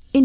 verscheen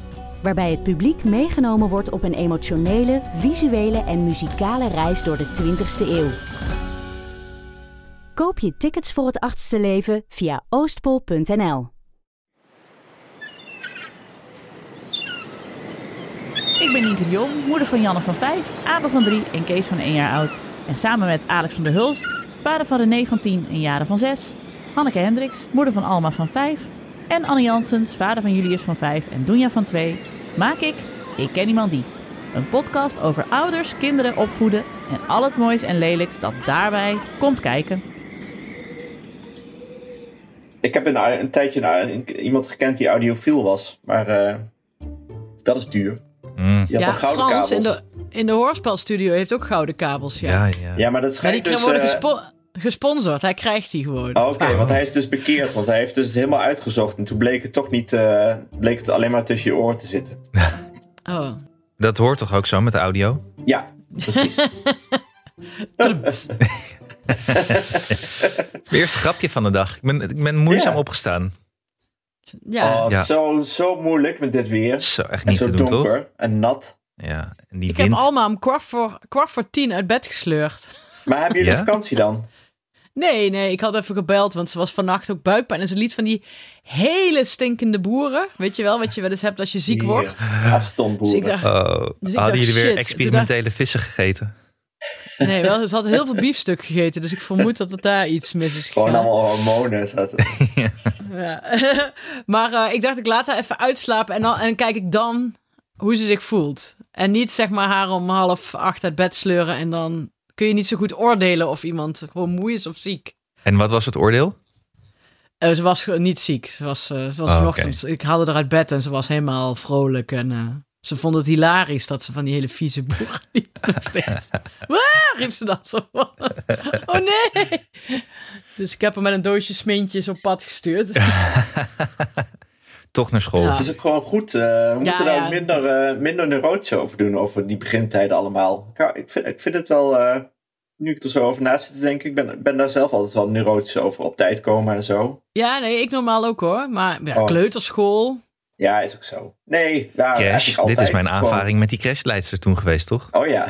Waarbij het publiek meegenomen wordt op een emotionele, visuele en muzikale reis door de 20ste eeuw. Koop je tickets voor het achtste leven via oostpol.nl. Ik ben Nienke de Jong, moeder van Janne van 5, Abel van 3 en Kees van 1 jaar oud. En samen met Alex van der Hulst, vader van René van 10 en Jaren van 6. Hanneke Hendricks, moeder van Alma van 5. En Anne Jansens, vader van Julius van 5 en Doenja van 2. Maak ik Ik Ken Iemand Die. Een podcast over ouders, kinderen, opvoeden en al het moois en lelijks dat daarbij komt kijken. Ik heb een, een tijdje nou, een- iemand gekend die audiofiel was, maar eh, dat is duur. Mm. Die had dan gouden Frans kabels. in de, in de hoorspelstudio heeft ook gouden kabels. Ja. Ja, ja. Ja, maar dat Maar schijnt die dus... worden eh, gespo- gesponsord. Hij krijgt die gewoon. oh, Oké, want hij is dus bekeerd, want hij heeft dus helemaal uitgezocht. En toen bleek het toch niet, eh, bleek het alleen maar tussen je oren te zitten. Oh. Dat hoort toch ook zo met de audio? Ja, precies. Oh, Het is mijn eerste grapje van de dag. Ik ben, ik ben moeizaam Ja. opgestaan. Ja. Oh, het Ja. is zo, zo moeilijk met dit weer. Dat is zo echt en niet zo te doen, donker toch? en nat. Ja, en die Ik heb wind. Alma om kwart voor, kwart voor tien uit bed gesleurd. Maar hebben jullie Ja? vakantie dan? Nee, nee, ik had even gebeld, want ze was vannacht ook buikpijn. En ze liet van die hele stinkende boeren. Weet je wel, wat je wel eens hebt als je ziek Hier, Ah, wordt. Dus Astonboeren. ik dacht, Oh, Dus ik hadden dacht, jullie weer shit. experimentele vissen gegeten? nee, wel, ze had heel veel biefstuk gegeten. Dus ik vermoed dat het daar iets mis is Gewoon gegaan. allemaal hormonen. zat het. Ja. maar eh, ik dacht, ik laat haar even uitslapen en, dan, en kijk ik dan hoe ze zich voelt. En niet zeg maar haar om half acht uit bed sleuren en dan kun je niet zo goed oordelen of iemand gewoon moe is of ziek. En wat was het oordeel? Eh, ze was ge- niet ziek. Ze was, eh, ze was Oh, vanochtend, ik haalde haar uit bed en ze was helemaal vrolijk en... eh, ze vond het hilarisch dat ze van die hele vieze boer liep nog steeds. Waar riep ze dat zo? Oh nee! Dus ik heb hem met een doosje smintjes op pad gestuurd. Toch naar school. Ja. Het is ook gewoon goed. eh, we moeten daar ja. ook minder, eh minder neurotisch over doen, over die begintijden allemaal. Ik, hou- ik, vind, ik vind het wel, eh, nu ik er zo over na zit te denken, ik ben, ben daar zelf altijd wel neurotisch over. Op tijd komen en zo. Ja, nee, ik normaal ook hoor. Maar ja, Oh. kleuterschool. Ja, is ook zo. Nee, ja, Crash. eigenlijk altijd. Dit is mijn Gewoon- aanvaring met die crashleidster toen geweest, toch? Oh ja.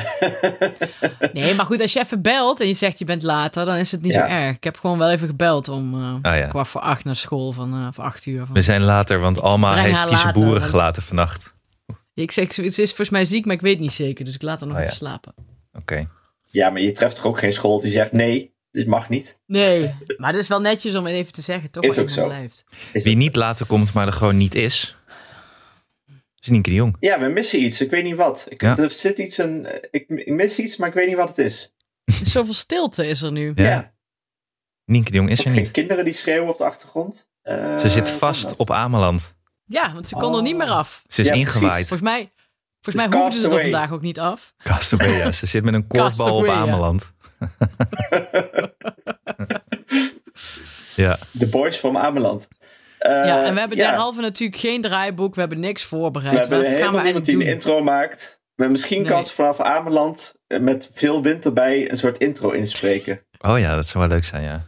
Nee, maar goed, als je even belt en je zegt je bent later, dan is het niet Ja. zo erg. Ik heb gewoon wel even gebeld om eh Ah ja. kwart voor acht naar school van, eh van acht uur. Van. We zijn later, want Alma Breng heeft haar vieze later, boeren want- gelaten vannacht. Ik zeg, ze is volgens mij ziek, maar ik weet niet zeker. Dus ik laat haar nog Oh, ja. even slapen. Oké. ja, maar je treft toch ook geen school die zegt nee, dit mag niet. Nee, maar dat is wel netjes om het even te zeggen, toch? Is als ook iemand zo. Blijft. Is Wie het- niet later komt, maar er gewoon niet is, is Nienke de Jong. Ja, we missen iets. Ik weet niet wat. Ik, Ja. Er zit iets een, ik, ik mis iets, maar ik weet niet wat het is. Dus Zoveel stilte is er nu. Ja, Nienke de Jong is er Ook geen niet. kinderen die schreeuwen op de achtergrond. Eh, Ze zit hoe vast kan op Ameland. Ja, want ze kon er niet Oh. meer af. Ze is Ja, ingewaaid. Volgens mij, volgens It's mij hoefden ze er castaway. vandaag ook niet af. Castaway, ja. Ze zit met een korfbal op Castaway, ja. Ameland. ja. dat? De Boys from Ameland. ja, Eh, en we hebben derhalve natuurlijk geen draaiboek. We hebben niks We voorbereid. hebben Wat gaan we helemaal iemand eigenlijk die doen? een intro maakt. Met misschien Nee. kans vanaf Ameland eh, met veel wind erbij een soort intro inspreken. Oh ja, dat zou wel leuk zijn, ja.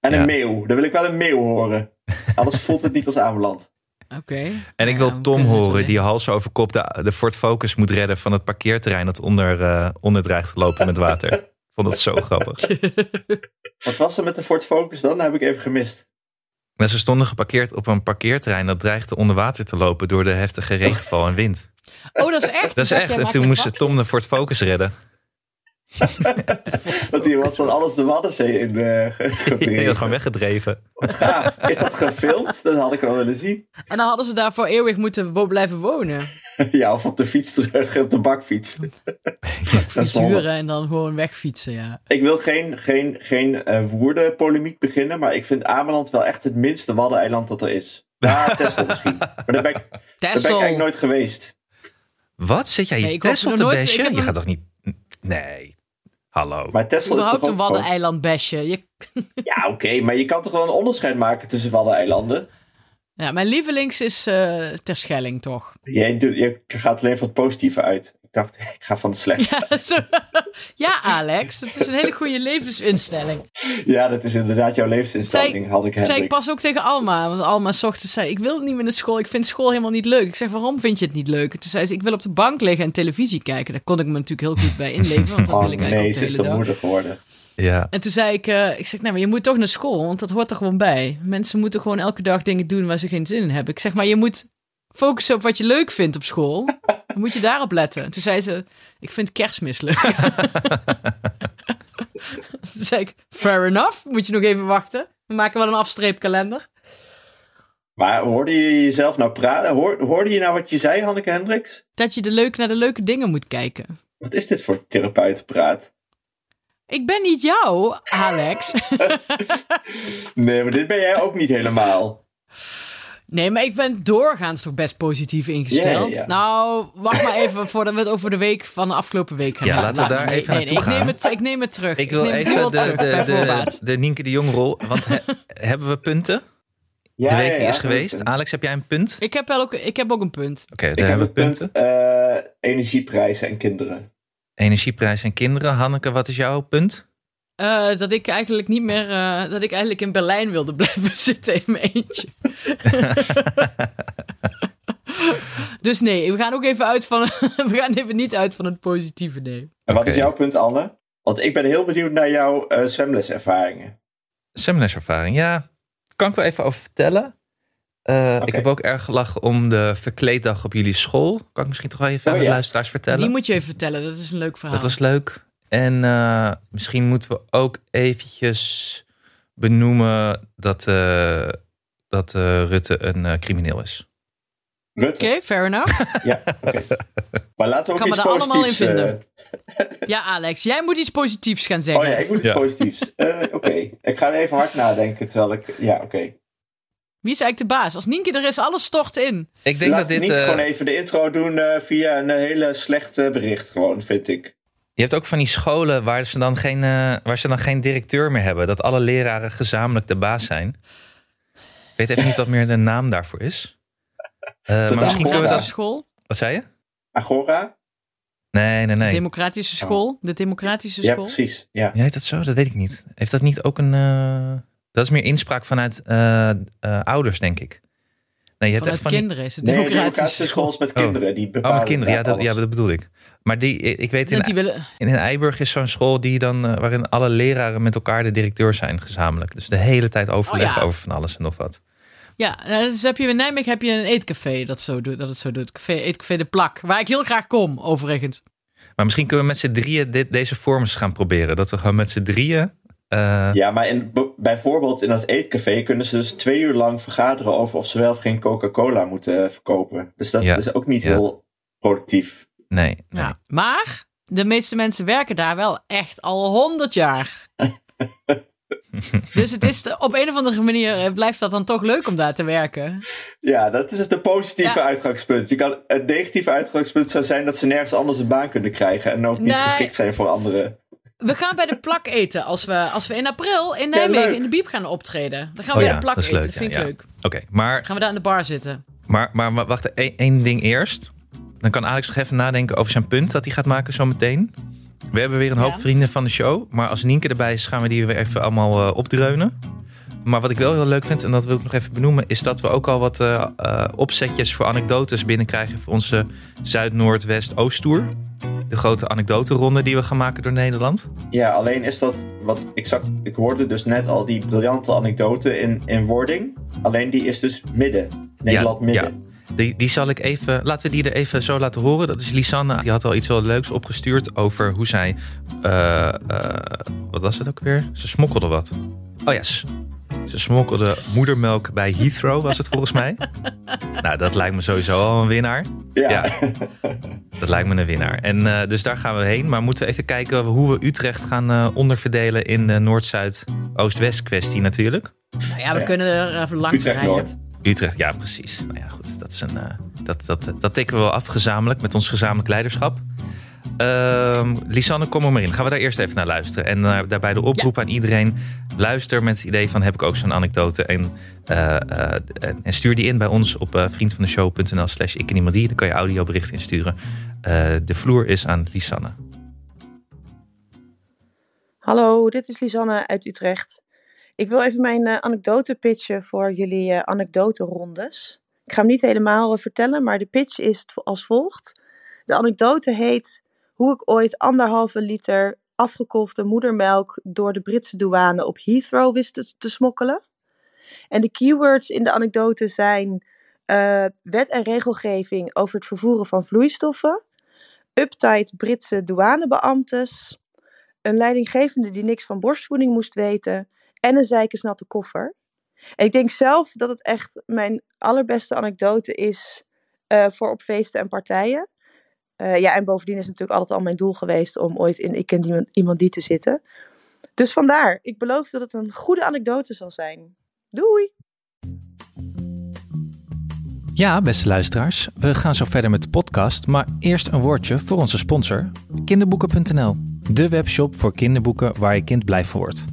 En Ja. een meeuw. Daar wil ik wel een meeuw horen. Anders voelt het niet als Ameland. Oké. En ik Ja, wil we Tom kunnen het horen wel- die hals over kop de, de Ford Focus moet redden van het parkeerterrein dat onder, eh, onder dreigt te lopen met water. Ik vond dat zo grappig. Wat was er met de Ford Focus dan? Dat heb ik even gemist. Maar ze stonden geparkeerd op een parkeerterrein dat dreigde onder water te lopen door de heftige regenval en wind. Oh, dat is echt. Dat is echt. En toen moest Tom de Ford Focus redden. Want hier was dan alles de Waddenzee in eh, ge- Die werd gedreven. gewoon weggedreven. Gaaf. Is dat gefilmd? Dat had ik wel willen zien. En dan hadden ze daar voor eeuwig moeten wo- blijven wonen. Ja, of op de fiets terug, op de bakfiets. Dat is Fiets wel- huren en dan gewoon wegfietsen, ja. Ik wil geen, geen, geen eh woordenpolemiek beginnen, maar ik vind Ameland wel echt het minste waddeneiland dat er is. Ja, Texel misschien. Maar daar ben ik, daar ben ik Texel. eigenlijk nooit geweest. Wat? Zit jij Nee, je ik hoop Tessel nog te nooit- ik bashen? heb Je nog- gaat toch niet... Nee. Hallo. Maar Tesla is toch Überhaupt een ook gewoon- waddeneilandbesje. Je... Ja, oké, maar je kan toch wel een onderscheid maken tussen Waddeneilanden? Ja, mijn lievelings is eh Terschelling, toch? Jij doet, je gaat alleen van het positieve uit. Ik dacht, ik ga van het slechte. Ja, zo- ja, Alex, dat is een hele goede levensinstelling. Ja, dat is inderdaad jouw levensinstelling, had ik zei ik Hendrik. pas ook tegen Alma. Want Alma 's ochtends zei, ik wil niet meer naar school. Ik vind school helemaal niet leuk. Ik zeg, waarom vind je het niet leuk? En Toen zei ze, ik wil op de bank liggen en televisie kijken. Daar kon ik me natuurlijk heel goed bij inleven. Want dat Oh wil ik eigenlijk nee, ook ze de is hele de dag. moeder geworden. Ja. En toen zei ik, eh, ik zeg, nee, maar je moet toch naar school. Want dat hoort er gewoon bij. Mensen moeten gewoon elke dag dingen doen waar ze geen zin in hebben. Ik zeg, maar je moet focussen op wat je leuk vindt op school. Dan moet je daarop letten. En toen zei ze, ik vind kerstmis leuk. toen zei ik, fair enough. Moet je nog even wachten. We maken wel een afstreepkalender. Maar hoorde je jezelf nou praten? Hoor- hoorde je nou wat je zei, Hanneke Hendricks? dat je de leuk naar de leuke dingen moet kijken. Wat is dit voor therapeutenpraat? Ik ben niet jou, Alex. Nee, maar dit ben jij ook niet helemaal. Nee, maar ik ben doorgaans toch best positief ingesteld. Ja, ja, ja. Nou, wacht maar even voordat we het over de week van de afgelopen week gaan Ja, hebben. laten we daar nee, even nee, nee, naartoe Ik gaan. neem, het, ik neem het terug. Ik wil neem het nu even al de, terug, bij de, de, voorbaat. de Nienke de Jong rol. Want he- hebben we punten? Ja, de week ja, die ja, is geweest. Ik Alex, heb jij een punt? Oké, Ik heb, wel ook, ik heb ook een punt. daar heb hebben een we punten. punt. eh, energieprijzen en kinderen. Energieprijs en kinderen. Hanneke, wat is jouw punt? Eh, dat ik eigenlijk niet meer... eh, dat ik eigenlijk in Berlijn wilde blijven zitten in mijn eentje. dus nee, we gaan ook even uit van... we gaan even niet uit van het positieve, nee. En wat Oké. is jouw punt, Anne? Want ik ben heel benieuwd naar jouw eh, zwemleservaringen. Seminarservaring, ja. Kan ik wel even over vertellen. Eh, Ik Oké. heb ook erg gelachen om de verkleeddag op jullie school. Kan ik misschien toch wel even Oh, aan de ja. luisteraars vertellen? Die moet je even vertellen, dat is een leuk verhaal. Dat was leuk. En eh, misschien moeten we ook eventjes benoemen dat, eh, dat eh, Rutte een eh, crimineel is. Rutte. Oké, fair enough. Ja, oké. Maar laten we ook Kan me iets daar allemaal in positiefs... eh, vinden. Ja, Alex, jij moet iets positiefs gaan zeggen. oh ja, ik moet iets Ja. positiefs. Eh, oké, ik ga even hard nadenken terwijl ik... Ja, oké. Wie is eigenlijk de baas? Als Nienke er is, alles stort in. Ik denk Laat dat dit. Niek eh, gewoon even de intro doen eh, via een hele slechte bericht gewoon, vind ik. je hebt ook van die scholen waar ze, dan geen, eh, waar ze dan geen directeur meer hebben. Dat alle leraren gezamenlijk de baas zijn. Ik weet even niet wat meer de naam daarvoor is. Eh, maar misschien kunnen we Democratische Agora? dat. school. Wat zei je? Agora? Nee, nee, nee. Democratische school. De democratische Ja, school. precies. Ja. Ja, heet dat zo? Dat weet ik niet. Heeft dat niet ook een... eh, Dat is meer inspraak vanuit eh, eh, ouders, denk ik. Nee, je hebt Vanuit echt van... die- kinderen is het Nee, democratische, democratische school. schools met Oh. kinderen. Die bepalen Oh, met kinderen. Ja daar dat, ja, alles. dat bedoel ik. Maar die, ik weet, in, Dat die willen... in Eiburg is zo'n school die dan, eh, waarin alle leraren met elkaar de directeur zijn gezamenlijk. Dus de hele tijd overleggen Oh ja. over van alles en nog wat. Ja, eh, dus heb je in Nijmegen heb je een eetcafé dat, zo doet, dat het zo doet. Café, eetcafé De Plak, waar ik heel graag kom, overigens. Maar misschien kunnen we met z'n drieën dit, deze forms gaan proberen. Dat we gewoon met z'n drieën... eh, Ja, maar in, b- bijvoorbeeld in dat eetcafé kunnen ze dus twee uur lang vergaderen over of ze wel of geen Coca-Cola moeten verkopen. Dus dat Ja. is ook niet Ja. heel productief. Nee, nee. Ja. Maar de meeste mensen werken daar wel echt al honderd jaar. dus het is de- op een of andere manier eh, blijft dat dan toch leuk om daar te werken. Ja, dat is het de positieve Ja. uitgangspunt. Je kan, het negatieve uitgangspunt zou zijn dat ze nergens anders een baan kunnen krijgen en ook niet Nee. geschikt zijn voor anderen. We gaan bij de plak eten als we, als we in april in Nijmegen leuk. in de Biep gaan optreden. Dan gaan we Oh bij ja, de plak dat is eten, leuk. dat vind ja, ik ja. leuk. Oké, maar Gaan we daar aan de bar zitten. Maar, maar, maar wacht, één, één ding eerst. Dan kan Alex nog even nadenken over zijn punt dat hij gaat maken zometeen. We hebben weer een hoop Ja. vrienden van de show. Maar als Nienke erbij is, gaan we die weer even allemaal eh, opdreunen. Maar wat ik wel heel leuk vind, en dat wil ik nog even benoemen... is dat we ook al wat eh, eh, opzetjes voor anekdotes binnenkrijgen... voor onze Zuid-Noord-West-Oosttour. De grote anekdotenronde die we gaan maken door Nederland. Ja, alleen is dat wat ik zag. Ik hoorde dus net al die briljante anekdote in, in wording. Alleen die is dus midden. Nederland midden. Die, die zal ik even, laten we die er even zo laten horen. Dat is Lisanne. Die had al iets heel leuks opgestuurd over hoe zij, eh, eh, wat was het ook weer? Ze smokkelde wat. Oh ja, s- ze smokkelde moedermelk bij Heathrow was het volgens mij. Nou, dat lijkt me sowieso al een winnaar. Ja. Ja. Dat lijkt me een winnaar. En eh, dus daar gaan we heen. Maar moeten we even kijken hoe we Utrecht gaan eh, onderverdelen in de Noord-Zuid-Oost-West kwestie natuurlijk. Nou ja, we Ja. kunnen er eh, even langs Utrecht rijden. Noord. Utrecht, ja, precies. Nou ja, goed, dat, is een, eh, dat, dat, dat tikken we wel af gezamenlijk met ons gezamenlijk leiderschap. Ehm Lisanne, kom er maar in. Gaan we daar eerst even naar luisteren. En eh, daarbij de oproep aan iedereen. Luister met het idee van heb ik ook zo'n anekdote. En, eh, eh, en, en stuur die in bij ons op eh, vriendvandeshow.nl slash ik en iemand die. Dan kan je audiobericht insturen. Eh, de vloer is aan Lisanne. Hallo, dit is Lisanne uit Utrecht. Ik wil even mijn eh, anekdote pitchen voor jullie eh anekdoterondes. Ik ga hem niet helemaal eh, vertellen, maar de pitch is het vo- als volgt. De anekdote heet hoe ik ooit anderhalve liter afgekolfde moedermelk door de Britse douane op Heathrow wist te, te smokkelen. En de keywords in de anekdote zijn eh, wet en regelgeving over het vervoeren van vloeistoffen, uptight Britse douanebeambtes, een leidinggevende die niks van borstvoeding moest weten en een zeikersnatte koffer. En ik denk zelf dat het echt mijn allerbeste anekdote is eh, voor op feesten en partijen. Eh, ja, en bovendien is het natuurlijk altijd al mijn doel geweest om ooit in Ik ken iemand, iemand die te zitten. Dus vandaar, ik beloof dat het een goede anekdote zal zijn. Doei! Ja, beste luisteraars, we gaan zo verder met de podcast, maar eerst een woordje voor onze sponsor, kinderboeken.nl. De webshop voor kinderboeken waar je kind blij van wordt.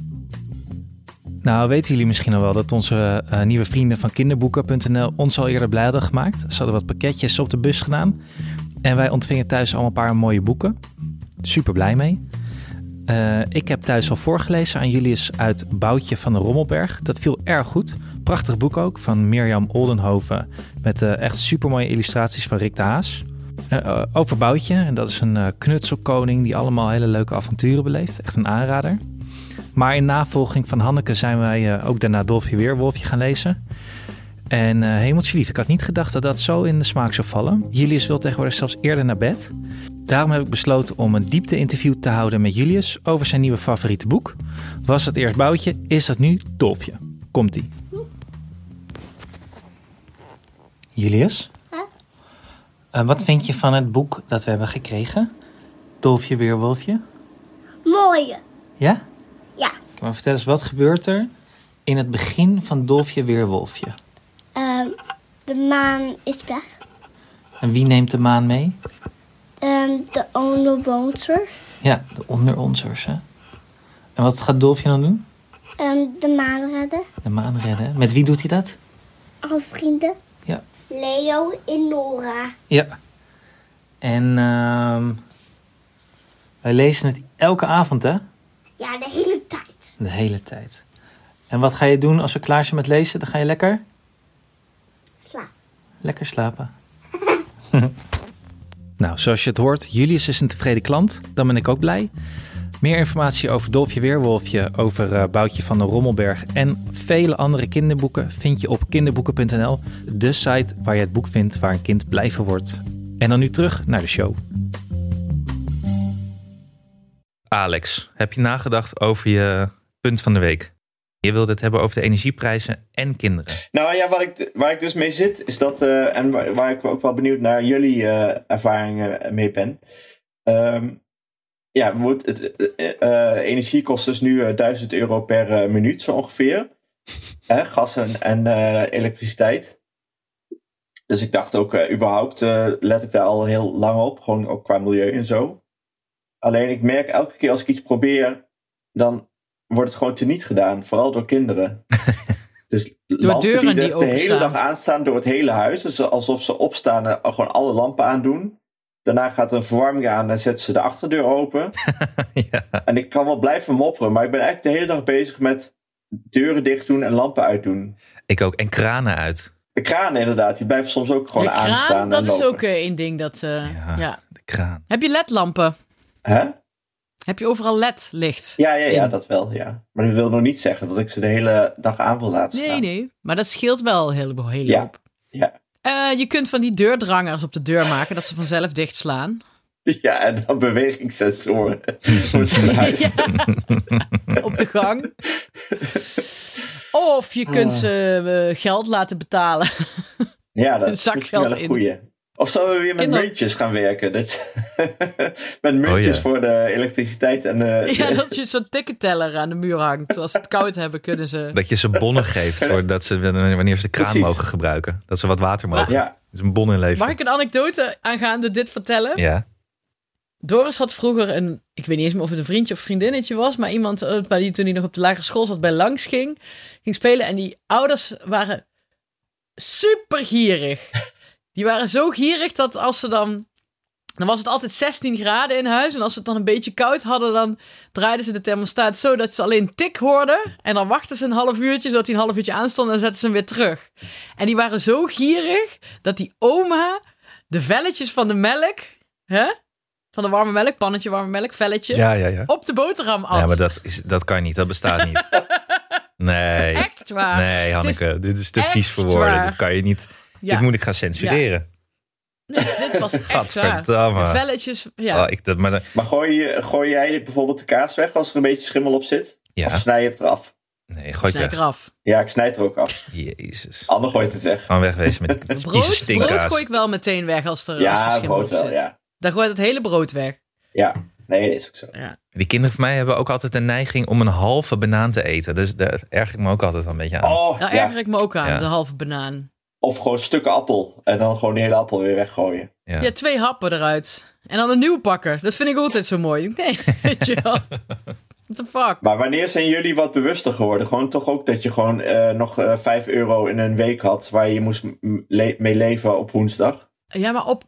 Nou, weten jullie misschien al wel dat onze eh, nieuwe vrienden van kinderboeken.nl ons al eerder blij hadden gemaakt. Ze hadden wat pakketjes op de bus gedaan en wij ontvingen thuis allemaal een paar mooie boeken. Super blij mee. Eh, ik heb thuis al voorgelezen aan Julius uit Boutje van de Rommelberg. Dat viel erg goed. Prachtig boek ook van Mirjam Oldenhoven. Met eh, echt supermooie illustraties van Rick de Haas. Eh, eh, over Boutje, en dat is een eh, knutselkoning die allemaal hele leuke avonturen beleeft. Echt een aanrader. Maar in navolging van Hanneke zijn wij eh, ook daarna Dolfje Weerwolfje gaan lezen. En eh hemeltje lief, ik had niet gedacht dat dat zo in de smaak zou vallen. Julius wil tegenwoordig zelfs eerder naar bed. Daarom heb ik besloten om een diepte-interview te houden met Julius over zijn nieuwe favoriete boek. Was het eerst Boutje, is dat nu Dolfje. Komt-ie. Julius? Eh, wat vind je van het boek dat we hebben gekregen? Dolfje Weerwolfje? Mooie. Ja? Ja. Kan maar vertel eens, wat gebeurt er in het begin van Dolfje Weerwolfje? Ehm, de maan is weg. En wie neemt de maan mee? Ehm, de onderwoonster. Ja, de onderonsers, hè? En wat gaat Dolfje dan doen? Ehm, de maan redden. De maan redden. hè? Met wie doet hij dat? Alle vrienden. Ja. Leo en Nora. Ja. En ehm, wij lezen het elke avond, hè? Ja, de hele tijd. De hele tijd. En wat ga je doen als we klaar zijn met lezen? Dan ga je lekker? Slaap. Lekker slapen. nou, zoals je het hoort, Julius is een tevreden klant. Dan ben ik ook blij. Meer informatie over Dolfje Weerwolfje, over eh, Boutje van de Rommelberg en vele andere kinderboeken vind je op kinderboeken.nl, de site waar je het boek vindt waar een kind blij van wordt. En dan nu terug naar de show. Alex, heb je nagedacht over je punt van de week? Je wilde het hebben over de energieprijzen en kinderen. Nou ja, wat ik, waar ik dus mee zit, is dat, eh, en waar, waar ik ook wel benieuwd naar jullie eh, ervaringen mee ben. Ehm, ja, moet het, eh, eh, energie kost dus nu eh, 1000 euro per eh, minuut zo ongeveer. Hè, gas en, en eh, elektriciteit. Dus ik dacht ook, eh, überhaupt eh, let ik daar al heel lang op, gewoon ook qua milieu en zo. Alleen ik merk elke keer als ik iets probeer, dan wordt het gewoon teniet gedaan, vooral door kinderen. Dus lampen deuren die de, de hele openstaan. dag aanstaan door het hele huis. Dus alsof ze opstaan en gewoon alle lampen aandoen. Daarna gaat er een verwarming aan en zetten ze de achterdeur open. ja. En ik kan wel blijven mopperen, maar ik ben eigenlijk de hele dag bezig met deuren dicht doen en lampen uitdoen. Ik ook. En kranen uit. De kraan inderdaad, die blijven soms ook gewoon De kraan, aanstaan. dat en is lopen. ook eh, één ding dat... eh, Ja. ja. De kraan. Heb je ledlampen? Hè? Heb je overal ledlicht? Ja, ja, ja, In. dat wel, ja. Maar dat wil nog niet zeggen dat ik ze de hele dag aan wil laten staan. Nee, nee. Maar dat scheelt wel een heleboel. Hele Ja. hoop. Ja. Eh, je kunt van die deurdrangers op de deur maken dat ze vanzelf dichtslaan. Ja, en dan bewegingssensoren voor het huis. Ja. op de gang. Of je kunt ze eh, geld laten betalen. Ja, dat Een is zak misschien wel geld een in. goeie. Of zouden we weer met Kinder- muntjes gaan werken? Dat, met muntjes Oh, ja. voor de elektriciteit en de... Ja, dat je zo'n tikkenteller aan de muur hangt. Als ze het koud hebben, kunnen ze... Dat je ze bonnen geeft voor dat ze, wanneer ze de kraan Precies. mogen gebruiken. Dat ze wat water mogen. Ja. Dus een bon inleveren. Mag ik een anekdote aangaande dit vertellen? Ja. Doris had vroeger een, ik weet niet eens meer of het een vriendje of vriendinnetje was, maar iemand eh, bij die toen hij nog op de lagere school zat bij langs ging, ging spelen en die ouders waren super gierig. Die waren zo gierig dat als ze dan, dan was het altijd 16 graden in huis en als ze het dan een beetje koud hadden, dan draaiden ze de thermostaat zo dat ze alleen tik hoorden en dan wachten ze een half uurtje zodat hij een half uurtje aanstond en zetten ze hem weer terug. En die waren zo gierig dat die oma de velletjes van de melk, hè? Van de warme melk, pannetje warme melk, velletje. ja, ja, ja. Op de boterham at. Ja, maar dat, is, dat kan niet. Dat bestaat niet. Nee. Echt waar. Nee, Het is Hanneke. dit is te echt vies voor woorden. waar. Dit kan je niet. Ja. Dit moet ik gaan censureren. Nee, dit was echt waar. Gadverdamme. De velletjes, ja. Oh, ik, dat, maar, dat- Maar gooi, je- gooi jij bijvoorbeeld de kaas weg als er een beetje schimmel op zit? Of ja. snij je het eraf? Nee, gooi het Snij weg. eraf. Ja, ik snijd er ook af. Jezus. Anne gooit het weg. Gewoon wegwezen met die vieze Brood, brood stinkkaas. gooi ik wel meteen weg als er, als er Ja, schimmel op brood wel, zit. ja. Dan gooit het hele brood weg. Ja, nee, dat is ook zo. Die kinderen van mij hebben ook altijd de neiging om een halve banaan te eten. Dus daar erg ik me ook altijd wel een beetje aan. Oh, Daar ja. erger ik me ook aan, Ja. de halve banaan. Of gewoon stukken appel en dan gewoon de hele appel weer weggooien. Ja. Ja. twee happen eruit. En dan een nieuw pakken. Dat vind ik altijd zo mooi. Nee, weet je wel. What the fuck? Maar wanneer zijn jullie wat bewuster geworden? Gewoon toch ook dat je gewoon eh, nog eh 5 euro in een week had waar je moest m- le- mee leven op woensdag? Ja, maar op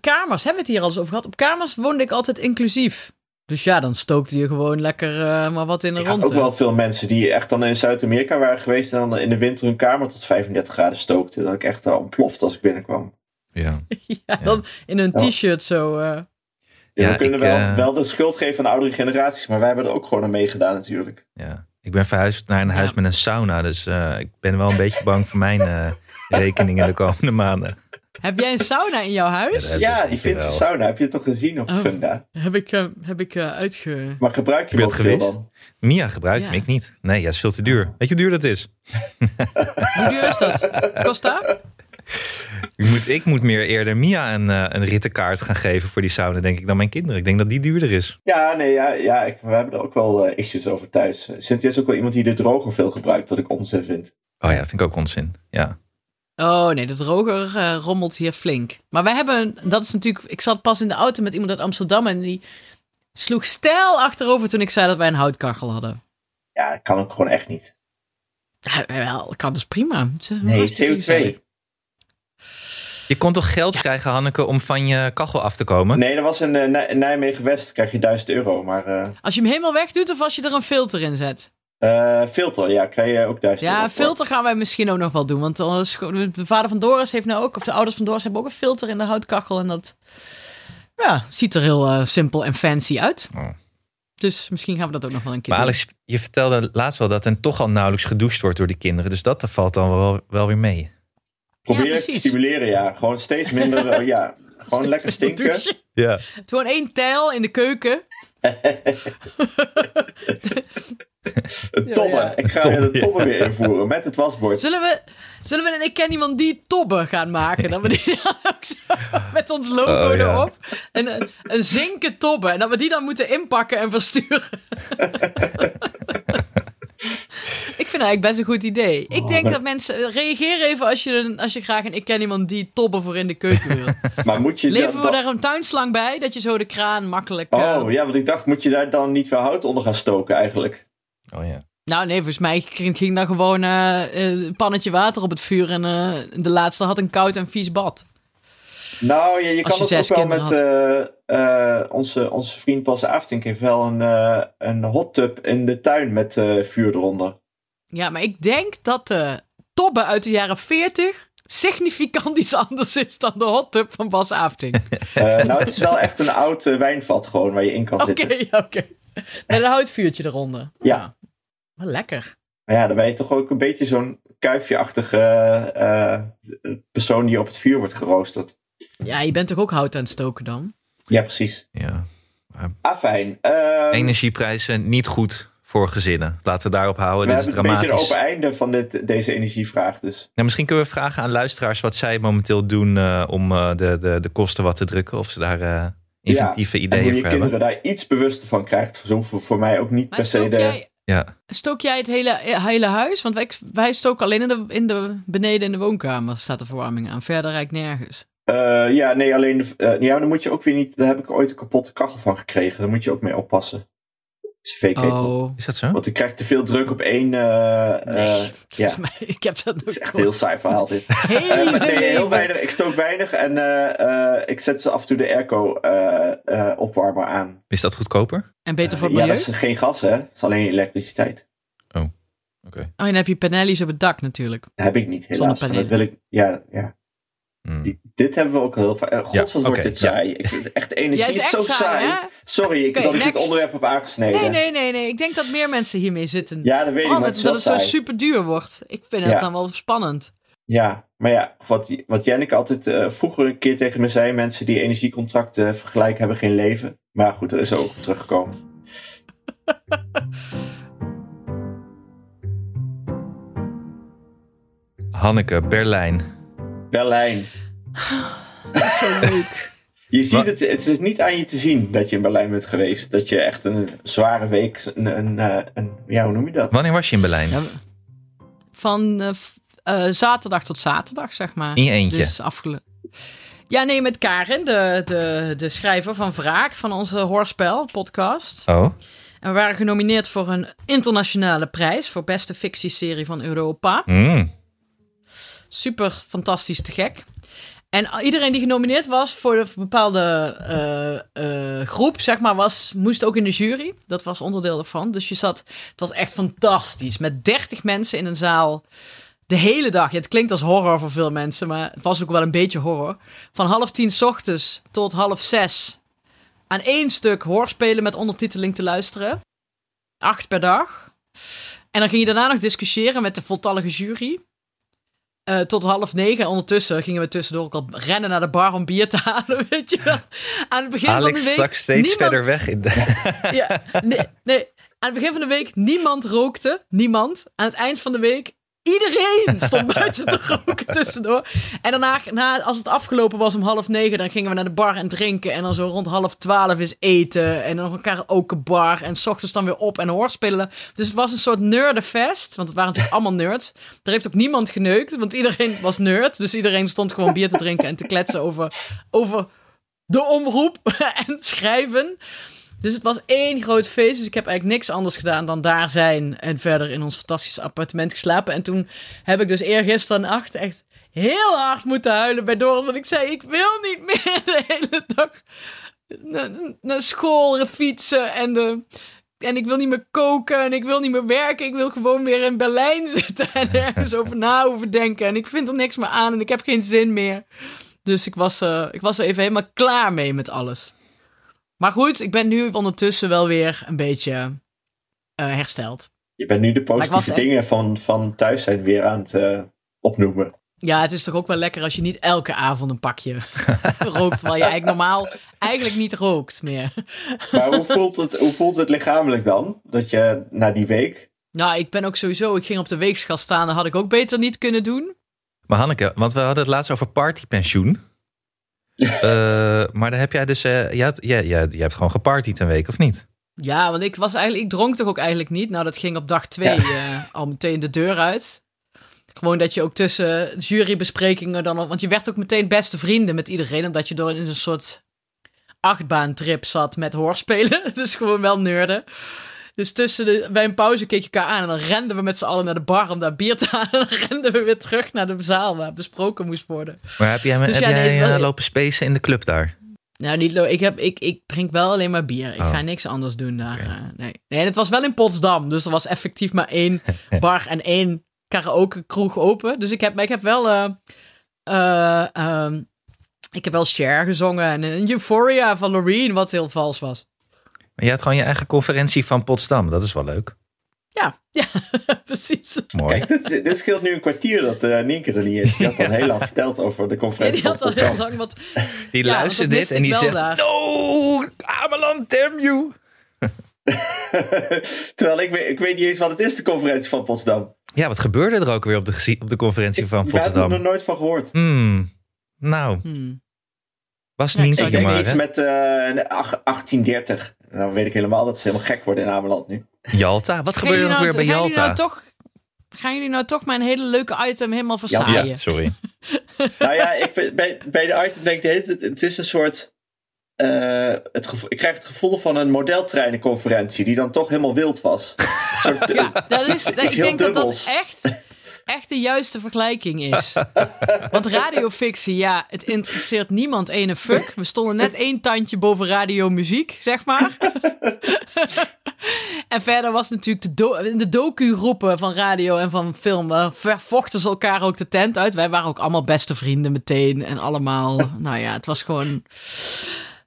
kamers, hebben we het hier al eens over gehad. Op kamers woonde ik altijd inclusief. Dus ja, dan stookte je gewoon lekker eh, maar wat in de Ik had ronde. ook wel veel mensen die echt dan in Zuid-Amerika waren geweest en dan in de winter hun kamer tot 35 graden stookten. Dat ik echt al ontplofte als ik binnenkwam. Ja. Ja, dan in een Ja. t-shirt zo. eh. Ja, Ja, we kunnen ik, wel, eh, wel de schuld geven aan oudere generaties, maar wij hebben er ook gewoon aan meegedaan natuurlijk. Ja. Ik ben verhuisd naar een huis Ja. met een sauna. Dus eh, ik ben wel een beetje bang voor mijn eh, rekeningen de komende maanden. Heb jij een sauna in jouw huis? Ja, dat- is Ja, niet die Finse geweldig. sauna heb je toch gezien op Oh. Funda? Heb ik, eh, heb ik eh, uitge... Maar gebruik je Heb je hem dat ook veel gewist? dan? Mia gebruikt hem, Ja. ik niet. Nee, ja, is veel te duur. Weet je hoe duur dat is? Hoe duur is dat? Kost dat? Ik moet, ik moet meer eerder Mia een, eh, een rittenkaart gaan geven voor die sauna, denk ik, dan mijn kinderen. Ik denk dat die duurder is. Ja, nee, ja, ja ik, we hebben er ook wel eh, issues over thuis. Cynthia is ook wel iemand die de droger veel gebruikt, wat ik onzin vind. Oh ja, vind ik ook onzin. Ja. Oh nee, de droger eh, rommelt hier flink. Maar wij hebben, dat is natuurlijk... Ik zat pas in de auto met iemand uit Amsterdam en die sloeg stijl achterover toen ik zei dat wij een houtkachel hadden. Ja, dat kan ook gewoon echt niet. Ja, wel, kan dus prima. Het is een Nee, hartstikke CO2. idee. Je kon toch geld krijgen, Hanneke, om van je kachel af te komen? Nee, dat was in eh, Nij- Nijmegen West, krijg je 1000 euro. Maar eh, Als je hem helemaal wegdoet of als je er een filter in zet? eh, filter, ja, krijg je ook 1000 euro. Ja, voor. filter gaan wij misschien ook nog wel doen. Want eh, scho- de vader van Doris heeft nou ook, of de ouders van Doris hebben ook een filter in de houtkachel. En dat ja, ziet er heel eh, simpel en fancy uit. Oh. Dus misschien gaan we dat ook nog wel een keer Maar doen. Alex, je vertelde laatst wel dat er toch al nauwelijks gedoucht wordt door die kinderen. Dus dat valt dan wel, wel weer mee. Probeer Ja, het te precies. stimuleren, ja. Gewoon steeds minder, eh, ja. Gewoon lekker stinken. Douchen. Ja. Gewoon één tijl in de keuken. Een tobbe. Ja, ja. Ik ga Tobbe, weer de ja. tobbe weer invoeren met het wasbord. Zullen we, zullen we een Ik ken iemand die tobben gaan maken? Dat we die dan ook zo met ons logo Oh, ja. erop. En een, een zinken tobben. En dat we die dan moeten inpakken en versturen. Ik vind eigenlijk best een goed idee. Oh, Ik denk dat mensen... Reageer even als je, een- als je graag een Ik ken iemand die tobben voor in de keuken wil. Maar moet je Leveren we dan- daar een tuinslang bij? Dat je zo de kraan makkelijk... eh, Oh ja, want ik dacht, moet je daar dan niet wel hout onder gaan stoken eigenlijk? Oh ja. Nou nee, volgens mij ging, ging dan gewoon eh, eh, een pannetje water op het vuur. En eh, de laatste had een koud en vies bad. Nou, je, je kan Als het je ook zes wel met kinderen eh, eh, onze, onze vriend Bas Aftink heeft wel een, eh, een hot tub in de tuin met eh, vuur eronder. Ja, maar ik denk dat de tobbe uit de jaren 40 significant iets anders is dan de hot tub van Bas Afting. Eh, nou, het is wel echt een oud eh, wijnvat gewoon waar je in kan Oké, zitten. ja, oké. En een houtvuurtje eronder. Ja. Wel lekker. Maar ja, dan ben je toch ook een beetje zo'n kuifje-achtige eh, eh, persoon die op het vuur wordt geroosterd. Ja, je bent toch ook hout aan het stoken dan? Ja, precies. ja. Afijn. ehm, fijn. Energieprijzen niet goed voor gezinnen. Laten we daarop houden. we Dit is hebben een beetje een dramatisch. open einde van dit, deze energievraag dus. Nou, misschien kunnen we vragen aan luisteraars wat zij momenteel doen eh, om eh, de, de, de kosten wat te drukken. Of ze daar eh, inventieve En ideeën hoe je voor hebben. kinderen daar iets bewuster van krijgt. Zo voor, voor mij ook niet Maar per se stook de... jij, Ja. stook jij het hele, eh, hele huis? Want wij, wij stoken alleen in de, in de, beneden in de woonkamer staat de verwarming aan. Verder rijdt nergens. Eh, ja, nee, alleen... De, eh, ja, dan moet je ook weer niet... Daar heb ik ooit een kapotte kachel van gekregen. Daar moet je ook mee oppassen. CV-ketel. Oh, Is dat zo? Want ik krijg te veel druk op één... eh, eh, nee. ja, Volgens mij, ik heb dat het is nog echt een heel saai verhaal dit. Eh, maar nee, heel weinig. Ik stook weinig en eh, eh, ik zet ze af en toe de airco eh, eh, opwarmer aan. Is dat goedkoper? Oké. En beter voor het ja, milieu? dat is geen gas hè. Het is alleen elektriciteit. Oh, en dan heb je panellies op het dak natuurlijk. Dat heb ik niet helaas. maar Dat wil Zonnepanelen. ik... Ja, ja. Hmm. Die- Dit hebben we ook heel vaak. Eh, God, Ja, wat wordt oké, dit ja. saai. Ik vind het echt energie Jij is is, echt zo saai, saai. hè? Sorry, ik, Oké, dat ik dit next. onderwerp heb aangesneden. Nee, nee, nee, nee. Ik denk dat meer mensen hiermee zitten. Ja, dat weet ik, Vooral maar dat het is dat wel het zo saai. super duur wordt. Ik vind het Ja. dan wel spannend. Ja, maar ja, wat, wat Janneke altijd eh, vroeger een keer tegen me zei... mensen die energiecontracten vergelijken hebben geen leven. Maar goed, er is ook op teruggekomen. Hanneke, Berlijn. Berlijn. Dat is zo leuk. Je ziet Wa- het, het is niet aan je te zien dat je in Berlijn bent geweest. Dat je echt een zware week, een, een, eh, een- ja, hoe noem je dat? Wanneer was je in Berlijn? Ja, van eh, v- eh, zaterdag tot zaterdag, zeg maar. In je eentje? Dus afgele... Ja, nee, met Karen, de, de, de schrijver van Wraak, van onze Hoorspel-podcast. Oh, En we waren genomineerd voor een internationale prijs voor beste fictieserie van Europa. Mm. Super fantastisch te gek. En iedereen die genomineerd was voor een bepaalde eh, eh, groep, zeg maar, was, moest ook in de jury. Dat was onderdeel ervan. Dus je zat, het was echt fantastisch. Met 30 mensen in een zaal. De hele dag. Ja, het klinkt als horror voor veel mensen, maar het was ook wel een beetje horror. Van half tien 's ochtends tot half zes. Aan één stuk hoorspelen met ondertiteling te luisteren. Acht per dag. En dan ging je daarna nog discussiëren met de voltallige jury. Eh, tot half negen. Ondertussen gingen we tussendoor ook al rennen naar de bar om bier te halen, weet je wel. Aan het begin van de Alex week... zak steeds niemand- verder weg. In de... ja, nee, nee. Aan het begin van de week niemand rookte. Niemand. Aan het eind van de week iedereen stond buiten te roken tussendoor. En daarna, na, als het afgelopen was om half negen, dan gingen we naar de bar en drinken. En dan zo rond half twaalf is eten. En dan nog een karaokebar. En s ochtends dan weer op en hoorspelen. Dus het was een soort nerdenfest. Want het waren natuurlijk allemaal nerds. Er heeft ook niemand geneukt, want iedereen was nerd. Dus iedereen stond gewoon bier te drinken en te kletsen over... over de omroep en schrijven. Dus het was één groot feest. Dus ik heb eigenlijk niks anders gedaan dan daar zijn en verder in ons fantastische appartement geslapen. En toen heb ik dus eergisteren nacht echt heel hard moeten huilen bij Doran. Want ik zei, ik wil niet meer de hele dag naar, naar school fietsen en de... En ik wil niet meer koken en ik wil niet meer werken. Ik wil gewoon weer in Berlijn zitten en ergens over na hoeven denken. En ik vind er niks meer aan en ik heb geen zin meer. Dus ik was, eh, ik was er even helemaal klaar mee met alles. Maar goed, ik ben nu ondertussen wel weer een beetje eh, hersteld. Je bent nu de ik was positieve echt- dingen van, van thuis zijn weer aan het eh, opnoemen. Ja, het is toch ook wel lekker als je niet elke avond een pakje rookt. Terwijl je eigenlijk normaal eigenlijk niet rookt meer. Maar hoe voelt, het, hoe voelt het lichamelijk dan? Dat je na die week... Nou, ik ben ook sowieso, ik ging op de weegschaal staan. Dat had ik ook beter niet kunnen doen. Maar Hanneke, want we hadden het laatst over partypensioen. Eh, maar dan heb jij dus... eh, je, had- je, je, je hebt gewoon gepartied een week, of niet? Ja, want ik was eigenlijk, ik dronk toch ook eigenlijk niet. Nou, dat ging op dag twee eh, al meteen de deur uit. Gewoon dat je ook tussen jurybesprekingen dan al... Want je werd ook meteen beste vrienden met iedereen. Omdat je door in een soort achtbaantrip zat met hoorspelen. Dus gewoon wel nerden. Dus tussen de, bij een pauze keek je elkaar aan. En dan renden we met z'n allen naar de bar om daar bier te halen. En dan renden we weer terug naar de zaal waar besproken moest worden. Maar heb jij, heb Dus ja, nee, jij het wel- eh, lopen spacen in de club daar? Nou, niet lo- ik, heb, ik, ik drink wel alleen maar bier. Ik Oh. ga niks anders doen daar. Oké. eh, nee. nee, en het was wel in Potsdam. Dus er was effectief maar één bar en één karaoke kroeg open. Dus ik heb, maar ik heb wel... eh, eh, ehm, ik heb wel Cher gezongen en een Euphoria van Loreen, wat heel vals was. Maar je had gewoon je eigen conferentie van Potsdam. Dat is wel leuk. Ja, ja precies. Mooi. Kijk, dit, dit scheelt nu een kwartier dat eh Nienke er niet is. Die had al heel lang verteld over de Ja, conferentie die had van al heel Potsdam. lang wat... Die Ja, want dat luistert dit miste en ik die wel zegt... daar. No, Ameland, damn you. Terwijl ik weet, ik weet niet eens wat het is, de conferentie van Potsdam. Ja, wat gebeurde er ook weer op de, gezi- op de conferentie van ik heb er nog Potsdam? nooit van gehoord. Hmm, nou, Hmm. was Ja, ik niet zou Ik ik denk maar. iets hè? met eh, een ach- 1830. Dan weet ik helemaal dat ze helemaal gek worden in Ameland nu. Jalta? Wat gebeurde er Gaan ook jullie weer nou bij to- gaan jullie Jalta? nou toch, gaan jullie nou toch mijn hele leuke item helemaal Ja, verzaaien? sorry. nou ja, ik vind, bij, bij de item denk ik de hele tijd, het is een soort... eh, het gevo- ik krijg het gevoel van een modeltreinenconferentie die dan toch helemaal wild was. Een soort, eh, Ja, dat is, dat, ik heel denk dat dat dubbels. echt, echt de juiste vergelijking is. Want radiofictie, ja, het interesseert niemand ene fuck. We stonden net één tandje boven radiomuziek, zeg maar. En verder was natuurlijk de, do in de docu-groepen van radio en van film. eh, ver- vochten ze elkaar ook de tent uit. Wij waren ook allemaal beste vrienden meteen. En allemaal, nou ja, het was gewoon...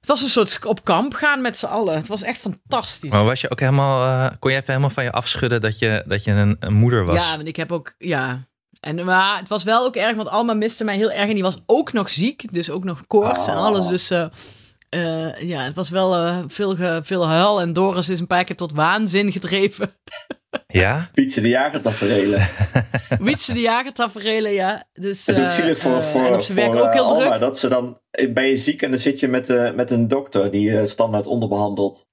Het was een soort op kamp gaan met z'n allen. Het was echt fantastisch. Maar was je ook helemaal, eh, kon je even helemaal van je afschudden dat je, dat je een, een moeder was? Ja, want ik heb ook, ja. En, maar het was wel ook erg, want Alma miste mij heel erg. En die was ook nog ziek, dus ook nog koorts en Ah. alles. Dus eh, eh, ja, het was wel eh, veel, ge- veel huil. En Doris is een paar keer tot waanzin gedreven. Ja? Pietse de Jager tafereelen. Wietse de jager taferelen, ja. Dus, Het is ook eh, zielig voor, eh, voor, en op zijn voor, werk ook eh, heel Alma, druk. dat ze dan ben je ziek en dan zit je met, eh, met een dokter die je standaard onderbehandelt.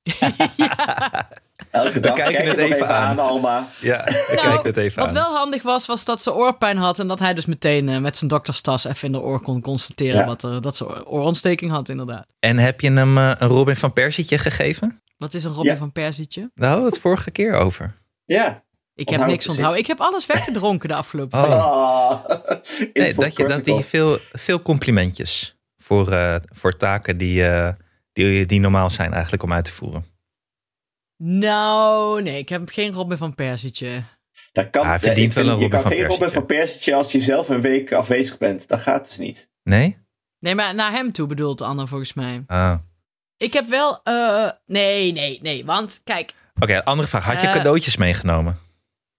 Elke dag kijken kijk het nog even aan. Alma. Ja, ik Nou, kijk dit even Wat aan. wel handig was, was dat ze oorpijn had. En dat hij dus meteen eh, met zijn dokterstas even in de oor kon constateren Ja. wat er, dat ze oorontsteking had, inderdaad. En heb je hem eh, een Robin van Persietje gegeven? Wat is een Robin Ja. van Persietje? Daar hadden we het vorige keer over. Ja. Ik Onthoud het heb niks precies. onthouden. Ik heb alles weggedronken de afgelopen Oh. week. Ah, Nee, instant dat, je, dat die critical. veel, veel complimentjes voor, eh, voor taken die, eh, die, die normaal zijn eigenlijk om uit te voeren. Nou, nee, ik heb geen Robin van Persietje. Dat kan, Ah, hij verdient ik vind- wel een je Robin kan van geen Robin Persietje. van Persietje als je zelf een week afwezig bent. Dat gaat dus niet. Nee? Nee, maar naar hem toe bedoelt Anna volgens mij. Ah. Ik heb wel. eh, nee, nee, nee. Want kijk, Oké, andere vraag. Had je Eh. cadeautjes meegenomen?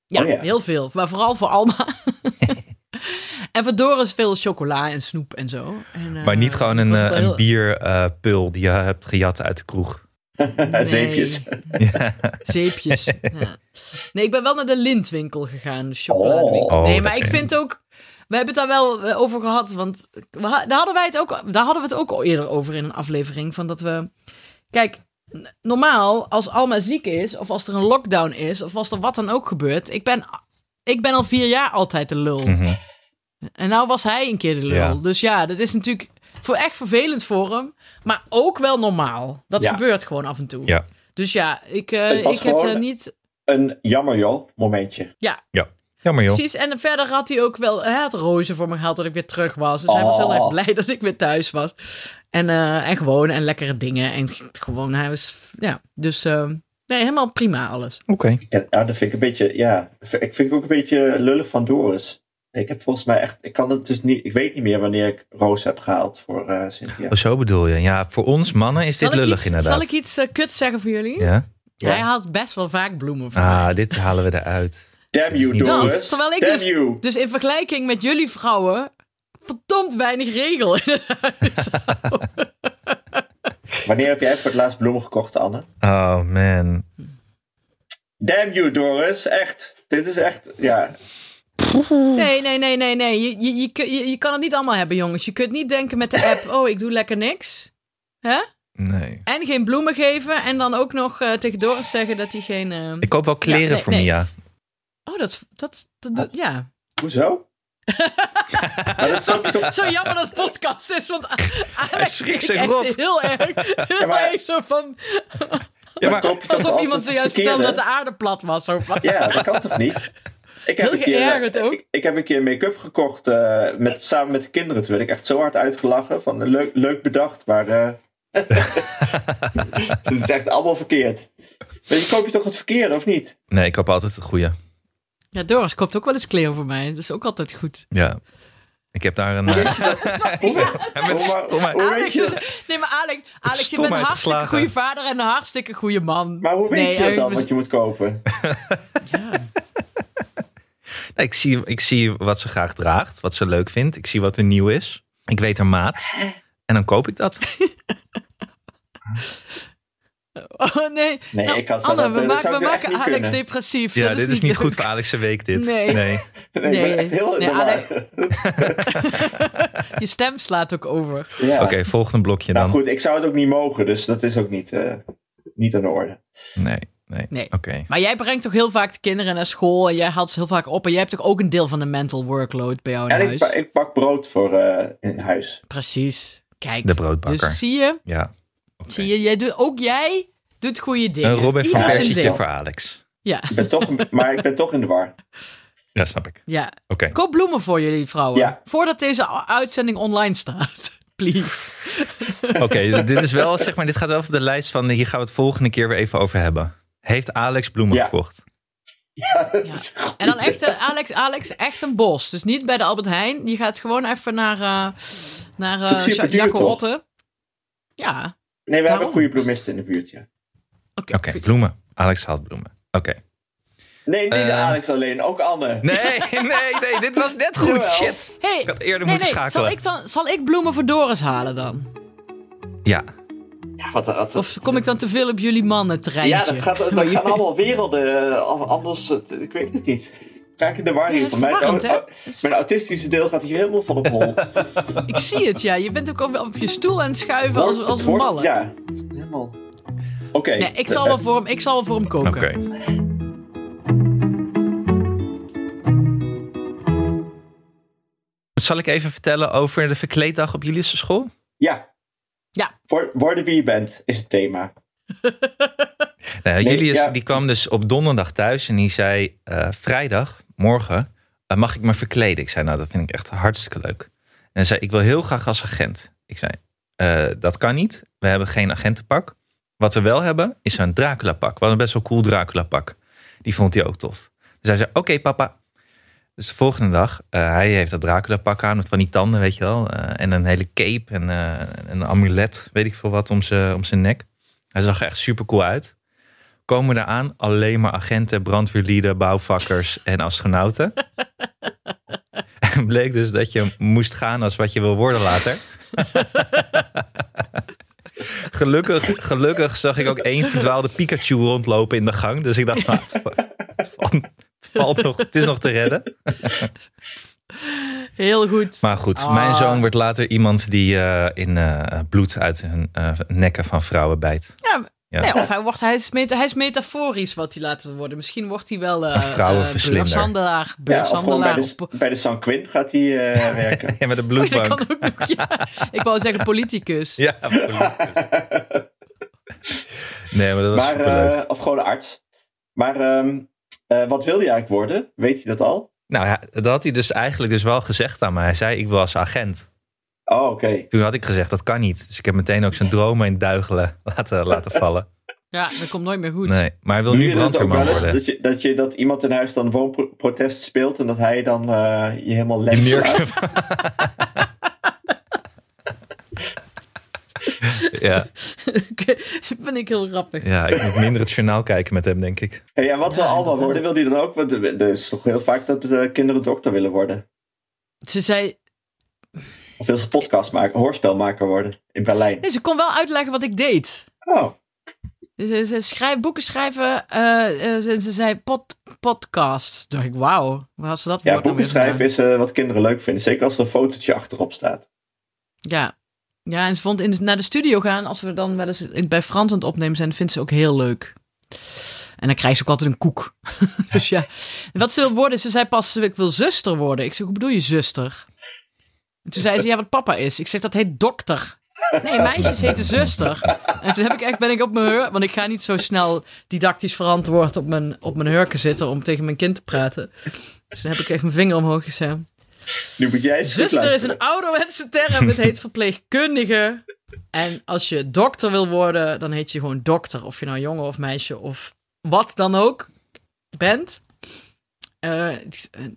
ja, Oh ja. heel veel. Maar vooral voor Alma. en voor Doris veel chocola en snoep en zo. En, eh, maar niet gewoon ik een, was eh, wel een heel- bierpul die je hebt gejat uit de kroeg. Nee, Zeepjes. Ja. Zeepjes. ja. Nee, ik ben wel naar de lintwinkel gegaan. De chocoladewinkel. Oh. nee, Oh, maar dat- ik vind ook. We hebben het daar wel eh, over gehad. Want we ha- daar hadden, wij het ook, daar hadden we het ook al eerder over in een aflevering. Van dat we. Kijk, n- normaal als Alma ziek is. Of als er een lockdown is. Of als er wat dan ook gebeurt. Ik ben, ik ben al vier jaar altijd de lul. Mhm. En nou was hij een keer de lul. Ja. Dus ja, dat is natuurlijk voor echt vervelend voor hem. Maar ook wel normaal. Dat Ja. gebeurt gewoon af en toe. Ja. Dus ja, ik, eh, Het was ik heb gewoon- er niet. Een jammer joh, momentje. Jammer joh. Precies, en verder had hij ook wel hij had rozen voor me gehaald dat ik weer terug was. Dus hij was heel Oh. erg blij dat ik weer thuis was. En, eh, en gewoon, en lekkere dingen. En gewoon, hij was, ja, dus eh, nee, helemaal prima alles. Oké. Ja, nou, dat vind ik een beetje, ja. Ik vind het ook een beetje lullig van Doris. Ik heb volgens mij echt, ik kan het dus niet, ik weet niet meer wanneer ik Roos heb gehaald voor eh, Cynthia. Oh, zo bedoel je. Ja, voor ons mannen is dit zal lullig ik iets, inderdaad. Zal ik iets kut kuts zeggen voor jullie? Ja? Ja. Hij haalt best wel vaak bloemen voor mij. Ah, dit halen we eruit. Damn is you, niet Doris. Dat, terwijl ik Damn dus- you. Dus in vergelijking met jullie vrouwen, verdomd weinig regel. Wanneer heb jij voor het laatst bloemen gekocht, Anne? Oh man. Damn you, Doris. Echt. Dit is echt, ja. Nee, nee, nee, nee, nee. Je, je, je, kun- je, je kan het niet allemaal hebben, jongens. Je kunt niet denken met de app, oh, ik doe lekker niks. Hè? Nee. En geen bloemen geven. En dan ook nog eh, tegen Doris zeggen dat hij geen... eh, Ik koop wel kleren Ja, nee, voor nee. Mia. Oh, dat... dat, dat Ah. doet- ja. Hoezo? maar dat zou ik toch- Zo jammer dat het podcast is, want A- Hij Alex schrikt schrikt zich rot. heel erg. Heel Ja, maar- erg zo van... Ja, maar koop je toch Alsof altijd iemand het zojuist vertelde dat verkeerde? de aarde plat was. Zo van, Ja, dat kan toch niet? Ik heb Heel een keer, eh, geërgerd ook. Ik, ik heb een keer make-up gekocht eh, met, samen met de kinderen. Toen werd ik echt zo hard uitgelachen. Van, eh, leuk, leuk bedacht, maar... eh, Het is echt allemaal verkeerd. Weet je, koop je toch het verkeerde, of niet? nee, ik koop altijd het goede. Ja, Doris koopt ook wel eens kleren voor mij. Dat is ook altijd goed. Ja. Ik heb daar een. eh, Ja, met Hoe- stomme- hoe weet Alex je- is- nee, maar Alex, Alex je bent een stomheid hartstikke geslagen. goede vader en een hartstikke goede man. Maar hoe weet Nee, je dat Erik, dan, we- wat je moet kopen? Nee, ik, zie, ik zie wat ze graag draagt, wat ze leuk vindt. Ik zie wat er nieuw is. Ik weet haar maat. En dan koop ik dat. Oh nee. Nee, Nou, ik had Anne, dat- we, dat maken- zou ik we echt maken niet Alex kunnen. depressief. Ja, dat dit is niet goed leuk. voor Alex en Week, dit. Nee. Nee, ik Nee, ben echt heel in nee, de war. Alex- Je stem slaat ook over. Ja. Oké, volgende blokje Nou dan. goed, ik zou het ook niet mogen, dus dat is ook niet, eh, niet aan de orde. Nee, nee. Nee. Oké. Maar jij brengt toch heel vaak de kinderen naar school en jij haalt ze heel vaak op. En jij hebt toch ook een deel van de mental workload bij jou in En ik, huis? pa- ik pak brood voor eh, in huis. Precies. Kijk. De broodbakker. Dus zie je, Ja. Oké. zie je, jij doet, ook jij doet goede dingen. Eh, Een Robin van Ieder zijn Persietje ding. voor Alex. Ja, Ik ben toch, maar ik ben toch in de war. Ja, snap ik. ja. Oké. Koop bloemen voor jullie vrouwen. Ja. Voordat deze u- uitzending online staat. Please. Oké, dit is wel, zeg maar, dit gaat wel op de lijst van eh, hier gaan we het volgende keer weer even over hebben. Heeft Alex bloemen Ja. gekocht? Ja. En dan echt, eh, Alex, Alex, echt een bos. Dus niet bij de Albert Heijn. Je gaat gewoon even naar, eh naar Het is ook eh superduur, Jacco toch? Otte. Ja, Nee, we hebben Daarom. een goede bloemisten in de buurt, ja. oké. Oké, goed. bloemen. Alex haalt bloemen. Oké. Nee, niet Eh. Alex alleen, ook Anne. Nee, nee, nee, dit was net goed. Jawel. Shit. Hey, Ik had eerder nee, moeten nee, schakelen. zal, ik dan, zal ik bloemen voor Doris halen dan? Ja. Ja, wat, wat- Of kom ik dan te veel op jullie mannen treintje? ja dat, gaat, dat gaan allemaal werelden. eh, al- Anders, het- ik weet het niet. Ik raak in de war Ja, hier. dat is mijn, verwarrend, hè? au- oh, mijn autistische deel gaat hier helemaal van op hol. Ik zie het, ja. Je bent ook op, op je stoel aan het schuiven als, als Het een wordt- malle. Ja, helemaal. Oké. Eh, Nee, ik zal wel voor hem, ik zal wel voor hem koken. Oké. Zal ik even vertellen over de verkleeddag op jullie school? Ja. Ja. Voor, worden wie je bent, is het thema. Nou, Nee, Julius ja. die kwam dus op donderdag thuis en die zei: eh, Vrijdag, morgen, eh, mag ik me verkleden? Ik zei: Nou, dat vind ik echt hartstikke leuk. En hij zei: Ik wil heel graag als agent. Ik zei: "Eh, Dat kan niet. We hebben geen agentenpak. Wat we wel hebben, is een Dracula-pak. We hadden best wel cool Dracula-pak. Die vond hij ook tof. Dus hij zei: Oké, papa. Dus de volgende dag, eh, hij heeft dat Dracula-pak aan met van die tanden, weet je wel. eh, en een hele cape en eh, een amulet, weet ik veel wat, om zijn om zijn nek. Hij zag er echt super cool uit komen er aan alleen maar agenten, brandweerlieden, bouwvakkers en astronauten. en bleek dus dat je moest gaan als wat je wil worden later. gelukkig, gelukkig zag ik ook één verdwaalde Pikachu rondlopen in de gang. Dus ik dacht, nou, het, va- het valt, het valt nog, het is nog te redden. Heel goed. Maar goed, Ah. mijn zoon wordt later iemand die eh, in eh, bloed uit hun eh, nekken van vrouwen bijt. Ja, Ja. nee, of hij, wordt, hij, is meta- hij is metaforisch wat hij laten worden. Misschien wordt hij wel eh Een vrouwenverslinder. eh, beurshandelaar. Ja, of gewoon bij Beurshandelaar. de, of- bij de San Quinn gaat hij eh, werken. Ja, met de Oh, dat bloedbank. kan ook nog, ja. Ik wou zeggen politicus. Ja, politicus. Nee, maar dat was maar, superleuk. eh, of gewoon een arts. Maar ehm, eh, wat wilde je eigenlijk worden? Weet je dat al? Nou ja, dat had hij dus eigenlijk dus wel gezegd aan mij. Hij zei, ik was agent. Oh, oké. Toen had ik gezegd, dat kan niet. Dus ik heb meteen ook zijn dromen in duigelen laten, laten vallen. Ja, dat komt nooit meer goed. Nee, maar hij wil Doe nu je dat ook brandweerman wel eens? worden. Dat je, dat je dat iemand in huis dan woonprotest speelt en dat hij dan eh, je helemaal legt. ja, Oké, dat vind ik heel grappig. ja, ik moet minder het journaal kijken met hem, denk ik. Hey, en wat wil Alma inderdaad. worden? Wil die dan ook? Want er er is toch heel vaak dat eh, kinderen dokter willen worden. Ze zei, Of wil ze podcast maken, hoorspelmaker worden in Berlijn. nee, ze kon wel uitleggen wat ik deed. Oh, Dus Ze, ze schrijf, boeken schrijven, eh, eh, ze, ze zei pod, podcast. Toen dacht ik, wauw, waar had ze dat ja, woord nou boeken weer schrijven vandaan? is eh, wat kinderen leuk vinden. Zeker als er een fotootje achterop staat. Ja. ja, en ze vond in, naar de studio gaan, als we dan wel eens in- bij Frans aan het opnemen zijn, vindt ze ook heel leuk. En dan krijgt ze ook altijd een koek. dus ja, en wat ze wil worden, ze zei pas, ik wil zuster worden. Ik zeg, hoe bedoel je zuster? En toen zei ze, ja, wat papa is. Ik zeg, dat heet dokter. Nee, meisjes heten zuster. En toen heb ik echt, ben ik op mijn heur... Want ik ga niet zo snel didactisch verantwoord op mijn, op mijn hurken zitten om tegen mijn kind te praten. Dus toen heb ik echt mijn vinger omhoog gezet. Nu moet jij eens goed Zuster is luisteren. een ouderwetse term. Het heet verpleegkundige. En als je dokter wil worden, dan heet je gewoon dokter. Of je nou jongen of meisje of wat dan ook bent. Eh,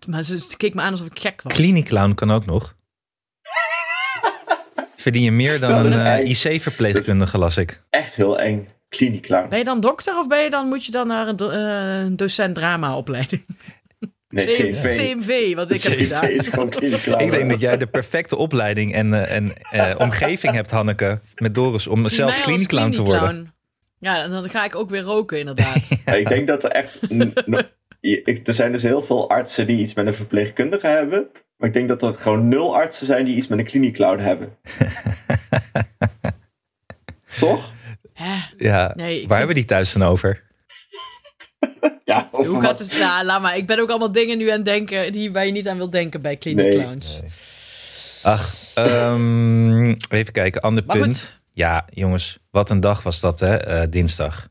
maar ze ze keek me aan alsof ik gek was. Klinieklown kan ook nog. Verdien je meer dan een eh, IC-verpleegkundige, las ik. Echt heel eng. Klinieklang. Ben je dan dokter of ben je dan, moet je dan naar een do- eh, een docent drama opleiding? Nee, CV. CMV, wat ik heb CV gedaan. is gewoon klinieklang. Ik denk dat jij de perfecte opleiding en, eh, en eh, omgeving hebt, Hanneke, met Doris, om zelf Mij als klinieklown te worden. klinieklown. Ja, dan ga ik ook weer roken, inderdaad. Ik denk dat er echt. n- n- je- ik- er zijn dus heel veel artsen die iets met een verpleegkundige hebben. Maar ik denk dat er gewoon nul artsen zijn die iets met een kliniekclown hebben. Toch? Hè? Ja, Nee, ik waar vind- hebben we die thuis dan over? Ja, of Hoe wat- gaat het? Nou, laat maar. Ik ben ook allemaal dingen nu aan het denken die, waar je niet aan wilt denken bij Clinic Nee. Clowns. Ach, ehm, even kijken. Ander Maar punt. goed. Ja, jongens, wat een dag was dat, hè? Eh, dinsdag.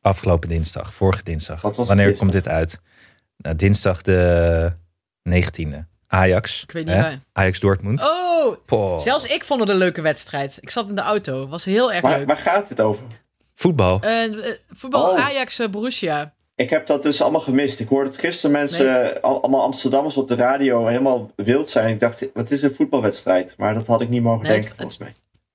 Afgelopen dinsdag, vorige dinsdag. Wat was het Wanneer dinsdag? komt dit uit? Nou, dinsdag de 19e. Ajax. Ik weet niet hè? waar. Ajax Dortmund. Oh, Poh. zelfs ik vond het een leuke wedstrijd. Ik zat in de auto. Was heel erg Waar, leuk. waar gaat het over? Voetbal. Eh, eh, voetbal Oh. Ajax eh, Borussia. Ik heb dat dus allemaal gemist. Ik hoorde het gisteren mensen, eh, al- allemaal Amsterdammers op de radio, helemaal wild zijn. Ik dacht, wat is een voetbalwedstrijd? Maar dat had ik niet mogen Nee, het- denken, volgens mij.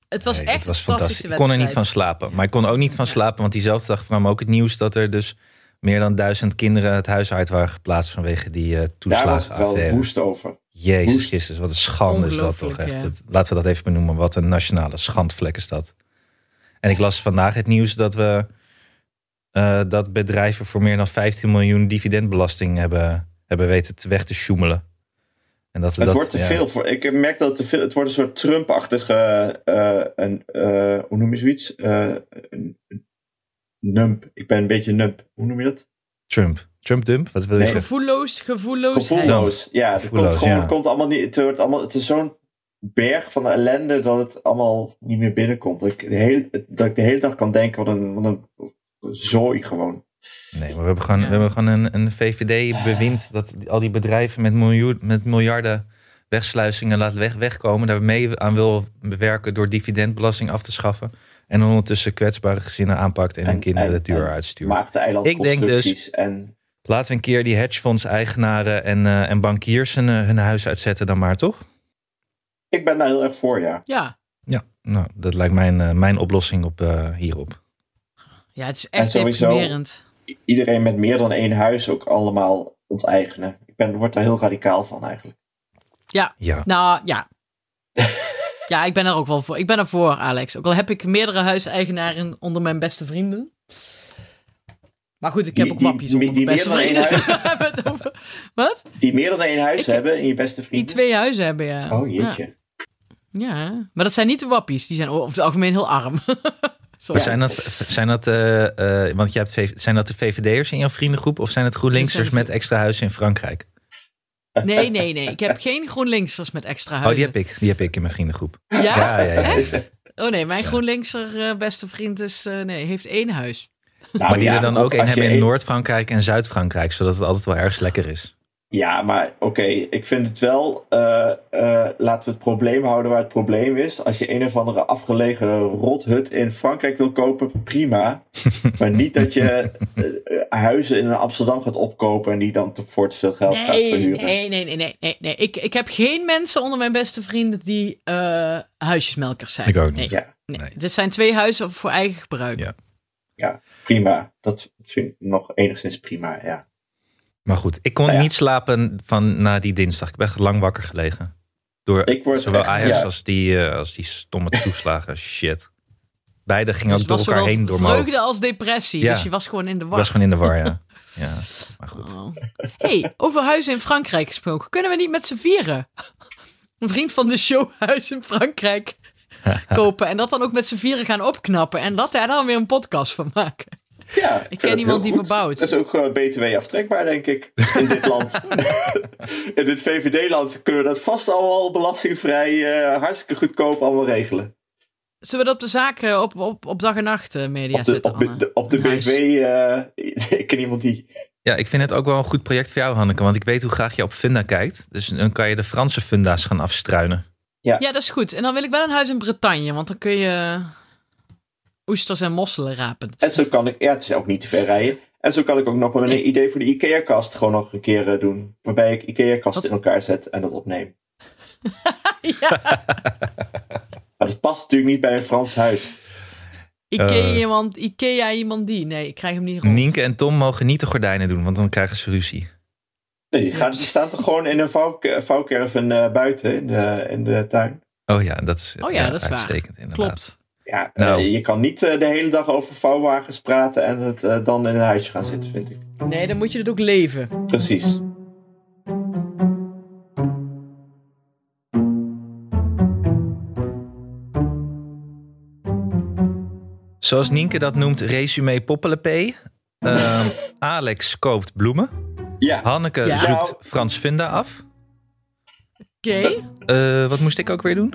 Het was Nee, echt het was een fantastische Ik kon er wedstrijd. niet van slapen. Maar ik kon ook niet van slapen, want diezelfde dag kwam ook het nieuws dat er dus meer dan duizend kinderen het huis uit waren geplaatst vanwege die eh Daar was ik wel toeslagenaffaire. woest over. Jezus woest. Christus, wat een schande is dat toch Ongelooflijk, echt. ja. Dat- laten we dat even benoemen. Wat een nationale schandvlek is dat. En ik las vandaag het nieuws dat we eh, dat bedrijven voor meer dan 15 miljoen dividendbelasting hebben, hebben weten te weg te sjoemelen. En dat, Het dat, wordt te ja. veel voor. Ik merk dat het te veel. Het wordt een soort Trump-achtige. eh, een, eh, hoe noem je zoiets? Eh, een- een- nump. Ik ben een beetje nump. Hoe noem je dat? Trump. Trump dump? Wat wil je Nee. zeggen? Gevoelloos, gevoelloos. Gevoelloos. Ja, het Gevoelloos, komt gewoon. ja. Het, komt allemaal niet, het, wordt allemaal, het is zo'n berg van ellende dat het allemaal niet meer binnenkomt. Dat ik de hele, dat ik de hele dag kan denken: wat een, wat een zooi gewoon. Nee, maar we hebben gewoon, Ja. we hebben gewoon een, een VVD-bewind dat al die bedrijven met, miljoen, met miljarden wegsluisingen laat weg, wegkomen. Daar mee aan wil bewerken door dividendbelasting af te schaffen. En ondertussen kwetsbare gezinnen aanpakt en, hun En- kinderen en- de deur en uitstuurt. Ik denk dus- Maagde-eilandconstructies. En Laten we een keer die hedgefonds-eigenaren en, eh, en bankiers hun, eh, hun huis uitzetten dan maar, toch? ik ben daar heel erg voor, ja. Ja. Ja, nou, dat lijkt mijn, eh, mijn oplossing op, eh, hierop. ja, het is echt En sowieso- deprimerend. I- Iedereen met meer dan één huis ook allemaal onteigenen. Ik ben, word daar heel radicaal van eigenlijk. Ja, Nou, ja. ja, ik ben er ook wel voor. Ik ben er voor, Alex. Ook al heb ik meerdere huiseigenaren onder mijn beste vrienden. Maar goed, ik heb Die- ook die- wappies onder die mijn beste meer dan vrienden. één We hebben het over- Wat? Die meer dan één huis Ik- hebben in je beste Die vrienden. twee huizen hebben, ja. Oh jeetje. Ja, ja. maar dat zijn niet de wappies. Die zijn over het algemeen heel arm. Maar Sorry. zijn dat, zijn dat, eh, eh, want je hebt, V- zijn dat de VVD'ers in jouw vriendengroep of zijn het GroenLinksers Dat zijn met de- extra huizen in Frankrijk? Nee, nee, nee. Ik heb geen GroenLinksers met extra Oh, die huizen. heb ik. Die heb ik in mijn vriendengroep. Oh, heb Ja? Ja, ja, ja. Echt? Oh nee, mijn GroenLinkser eh, beste vriend is, eh, nee, heeft één huis. Nou, maar die ja, er dan goed, ook één als hebben je e- in één- Noord-Frankrijk en Zuid-Frankrijk, zodat het altijd wel ergens lekker is. Ja, maar oké, ik vind het wel. eh, eh, laten we het probleem houden waar het probleem is. Als je een of andere afgelegen rothut in Frankrijk wil kopen, prima. maar niet dat je eh, eh, huizen in Amsterdam gaat opkopen en die dan te- voor te veel geld gaat Nee, verhuren. nee, nee, nee, nee. nee, nee. Ik, ik heb geen mensen onder mijn beste vrienden die eh, huisjesmelkers zijn. Ik ook niet. Nee, Ja, nee. Nee. Dit zijn twee huizen voor eigen gebruik. Dus Ja. ja, prima. Dat vind ik nog enigszins prima, ja. Maar goed, ik kon Nou ja. niet slapen van na die dinsdag. Ik ben echt lang wakker gelegen. Door Ik word zowel echt- Ajax ja. als, die, eh, als die stomme toeslagen. Shit. Beide gingen Dus het ook door was elkaar zowel heen door mijn hoofd. vreugde als depressie. Ja. Dus je was gewoon in de Ik war. was gewoon in de war, ja. ja. Maar goed. Oh. hey, over huizen in Frankrijk gesproken. Kunnen we niet met z'n vieren een vriend van de show huis in Frankrijk kopen en dat dan ook met z'n vieren gaan opknappen en dat daar dan weer een podcast van maken? Ja, ik ken het iemand heel die goed. verbouwt. Dat is ook eh, btw aftrekbaar, denk ik, in dit land. in dit VVD-land kunnen we dat vast allemaal belastingvrij, eh, hartstikke goedkoop allemaal regelen. Zullen we dat op de zaak eh, op, op, op dag en nacht eh, media op de, zetten, op, de- Anne? de- op de Een huis. BV, eh, ik ken iemand die... Ja, ik vind het ook wel een goed project voor jou, Hanneke. Want ik weet hoe graag je op Funda kijkt. Dus dan kan je de Franse Funda's gaan afstruinen. Ja, dat is goed. En dan wil ik wel een huis in Bretagne, want dan kun je oesters en mosselen rapen. En zo kan ik... Ja, het is ook niet te ver rijden. En zo kan ik ook nog wel een idee voor de IKEA-kast gewoon nog een keer eh, doen. Waarbij ik IKEA-kast in elkaar zet en dat opneem. ja, Maar dat past natuurlijk niet bij een Frans huis. Ikea, Eh. iemand, Ikea iemand die. Nee, ik krijg hem niet rond. Nienke en Tom mogen niet de gordijnen doen, want dan krijgen ze ruzie. Nee, die, gaat, die staan toch gewoon in een vouw, vouwcaravan eh, buiten in de, in de tuin? Oh ja, dat is, Oh ja, dat is waar. uitstekend inderdaad. Klopt. Ja, Nou. eh, je kan niet eh, de hele dag over vouwwagens praten en het, eh, dan in een huisje gaan zitten, vind ik. Nee, dan moet je het ook leven. Precies. Zoals Nienke dat noemt, resume poppelepee. Ehm, Alex koopt bloemen. Ja, Hanneke Ja. zoekt Frans Vinda af. Oké, Eh, wat moest ik ook weer doen?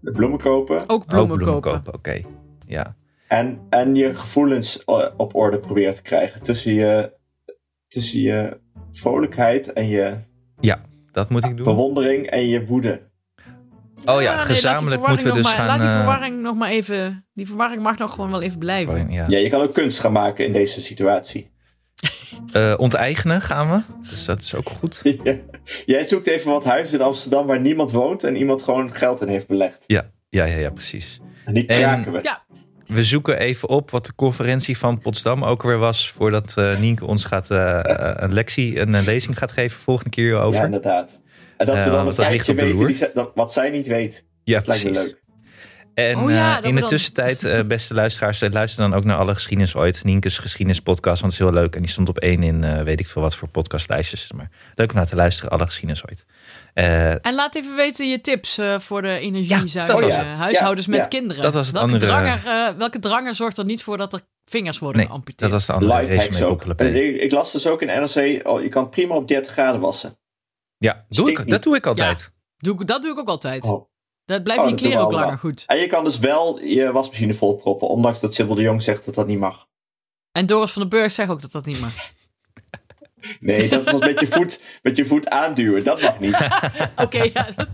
de bloemen kopen ook bloemen, Oh, kopen. Oké, ja. en, en je gevoelens eh, op orde proberen te krijgen. Tussen je, tussen je vrolijkheid en je Dat moet ik doen. bewondering en je woede. Oh nee, ja, laat die gezamenlijk moeten we verwarring dus nog maar- gaan... Laat die eh, verwarring nog maar even... Die verwarring mag nog gewoon wel even blijven. verwarring, Oh ja. Ja, je kan ook kunst gaan maken in deze situatie. Eh, onteigenen gaan we. Dus dat is ook goed. Ja. Jij zoekt even wat huizen in Amsterdam waar niemand woont en iemand gewoon geld in heeft belegd. Ja, ja, ja, precies. En die En- kraken we. Ja. We zoeken even op wat de conferentie van Potsdam ook weer was... voordat eh, Nienke ons gaat, eh, een lectie, een, een lezing gaat geven volgende keer Ja, over. Ja, inderdaad. En dat Ja, we dan want een dat ligt feitje op de weten loer. die ze- dat- wat zij niet weet. Lijkt me precies. leuk. En Oh ja, eh, dat in we de dan- tussentijd, eh, beste luisteraars, eh, luister dan ook naar alle geschiedenis ooit. Nienke's geschiedenispodcast, want het is heel leuk. En die stond op één in eh, weet ik veel wat voor podcastlijstjes. Maar leuk om naar te luisteren, alle geschiedenis ooit. Eh, En laat even weten je tips eh, voor de dat energiezuinige was het. huishoudens Ja, met ja. kinderen. Dat was het welke, andere- dranger, eh, welke dranger zorgt er niet voor dat er vingers worden nee, dat geamputeerd? was de andere Live race hacks mee ook. Poppelepee. Eh, Ik, ik las dus ook in NRC, al je kan prima op 30 graden wassen. Ja, doe Stinkt ik, niet. dat doe ik altijd. Doe ik- dat doe ik ook altijd. Oh. Dat blijft Oh, je dat doen we kleren ook allemaal. langer goed. En je kan dus wel je wasmachine volproppen, ondanks dat Sibyl de Jong zegt dat dat niet mag. En Doris van den Burg zegt ook dat dat niet mag. Nee, dat is als met je voet, met je voet aanduwen, dat mag niet. Oké, ja, dat,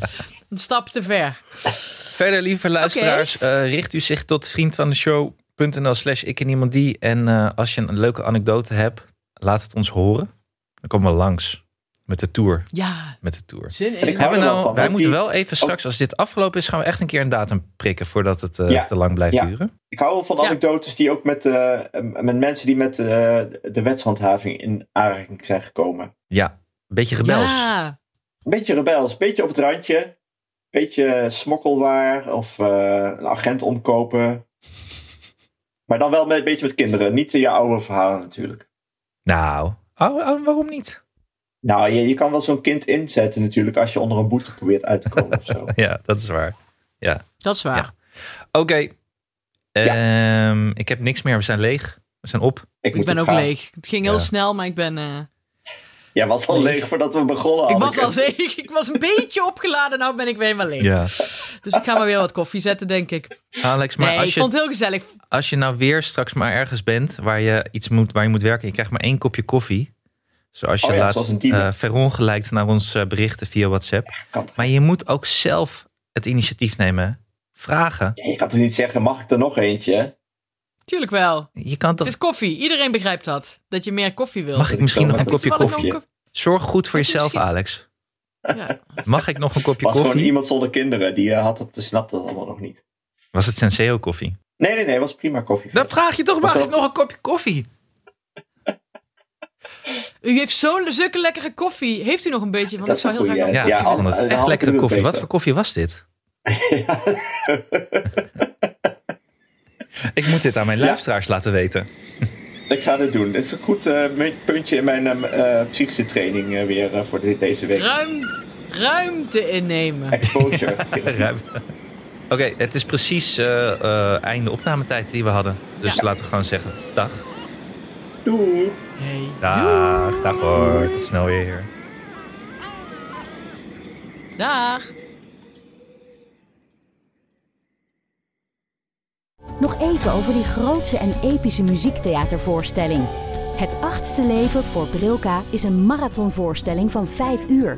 een stap te ver. Verder, lieve luisteraars, eh, richt u zich tot vriendvandeshow.nl slash ik en iemand die. En eh, als je een leuke anekdote hebt, laat het ons horen. Dan komen we langs met de tour. Ja, Met de tour. En zin ik in. hou Hebben er we wel nou, van, wij want moeten die- Oh. wel even straks, als dit afgelopen is, gaan we echt een keer een datum prikken voordat het eh, Ja. te lang blijft Ja. duren. Ik hou wel van Ja. anekdotes die ook met, eh, met mensen die met eh, de wetshandhaving in aanraking zijn gekomen. Ja, een beetje rebels. Ja, Een beetje rebels, een beetje op het randje, een beetje smokkelwaar of eh, een agent omkopen. Maar dan wel met, een beetje met kinderen, niet je oude verhalen natuurlijk. Nou, oh, oh, waarom niet? Nou, je, je kan wel zo'n kind inzetten natuurlijk als je onder een boete probeert uit te komen of zo. Ja, dat is waar. dat is waar. Ja. Oké. Ehm, ik heb niks meer. We zijn leeg. We zijn op. Ik, moet ben ook gaan. leeg. Het ging heel Ja. snel, maar ik ben... eh, Jij was al leeg voordat we begonnen. ik was Anneke. al leeg. Ik was een beetje opgeladen. Nou ben ik weer helemaal leeg. Ja. Dus ik ga maar weer wat koffie zetten, denk ik. Alex, maar nee, als ik je vond het heel gezellig. als je nou weer straks maar ergens bent waar je iets moet, waar je moet werken, je krijgt maar één kopje koffie. Zoals je Oh ja, zoals een laatst dealer. eh verongelijkt naar ons eh, berichten via WhatsApp. kan toch? Maar je moet ook zelf het initiatief nemen. hè? Vragen. Ja, Je kan toch niet zeggen, mag ik er nog eentje? Tuurlijk wel. Je kan Het toch. is koffie. Iedereen begrijpt dat. Dat je meer koffie wil. Mag ik Ik misschien wil nog een met kopje Terwijl ik koffie? ook Zorg goed voor Ik jezelf, misschien- Alex. een- Ja. Mag ik nog een kopje was gewoon koffie? iemand zonder kinderen, die eh, had het, snapte dat allemaal nog niet. Was het Senseo koffie? Nee, nee, nee, was prima koffie. Dan vraag je toch, mag dat- ik nog een kopje koffie? U heeft zo'n zulke lekkere koffie. Heeft u nog een beetje? Dat Want ik is zou een heel graag goeie, een Ja, Ja, ik koffie vond willen. Anne- Anne het echt had lekkere het koffie. beter. Wat voor koffie was dit? Ik moet dit aan mijn Ja. luisteraars laten weten. Ik ga dit doen. Het is een goed eh, me- puntje in mijn eh, eh, psychische training eh, weer eh, voor dit- deze week. Ruim, ruimte innemen. Exposure. Ruimte. Oké, het is precies eh, eh, einde opnametijd die we hadden. Dus laten we gewoon zeggen: dag. Doei. Hey. Dag, dag hoor. Tot snel weer. Dag. Nog even over die grootse en epische muziektheatervoorstelling. Het achtste leven voor Brilka is een marathonvoorstelling van 5 uur.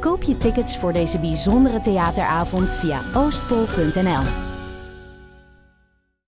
Koop je tickets voor deze bijzondere theateravond via oostpol.nl.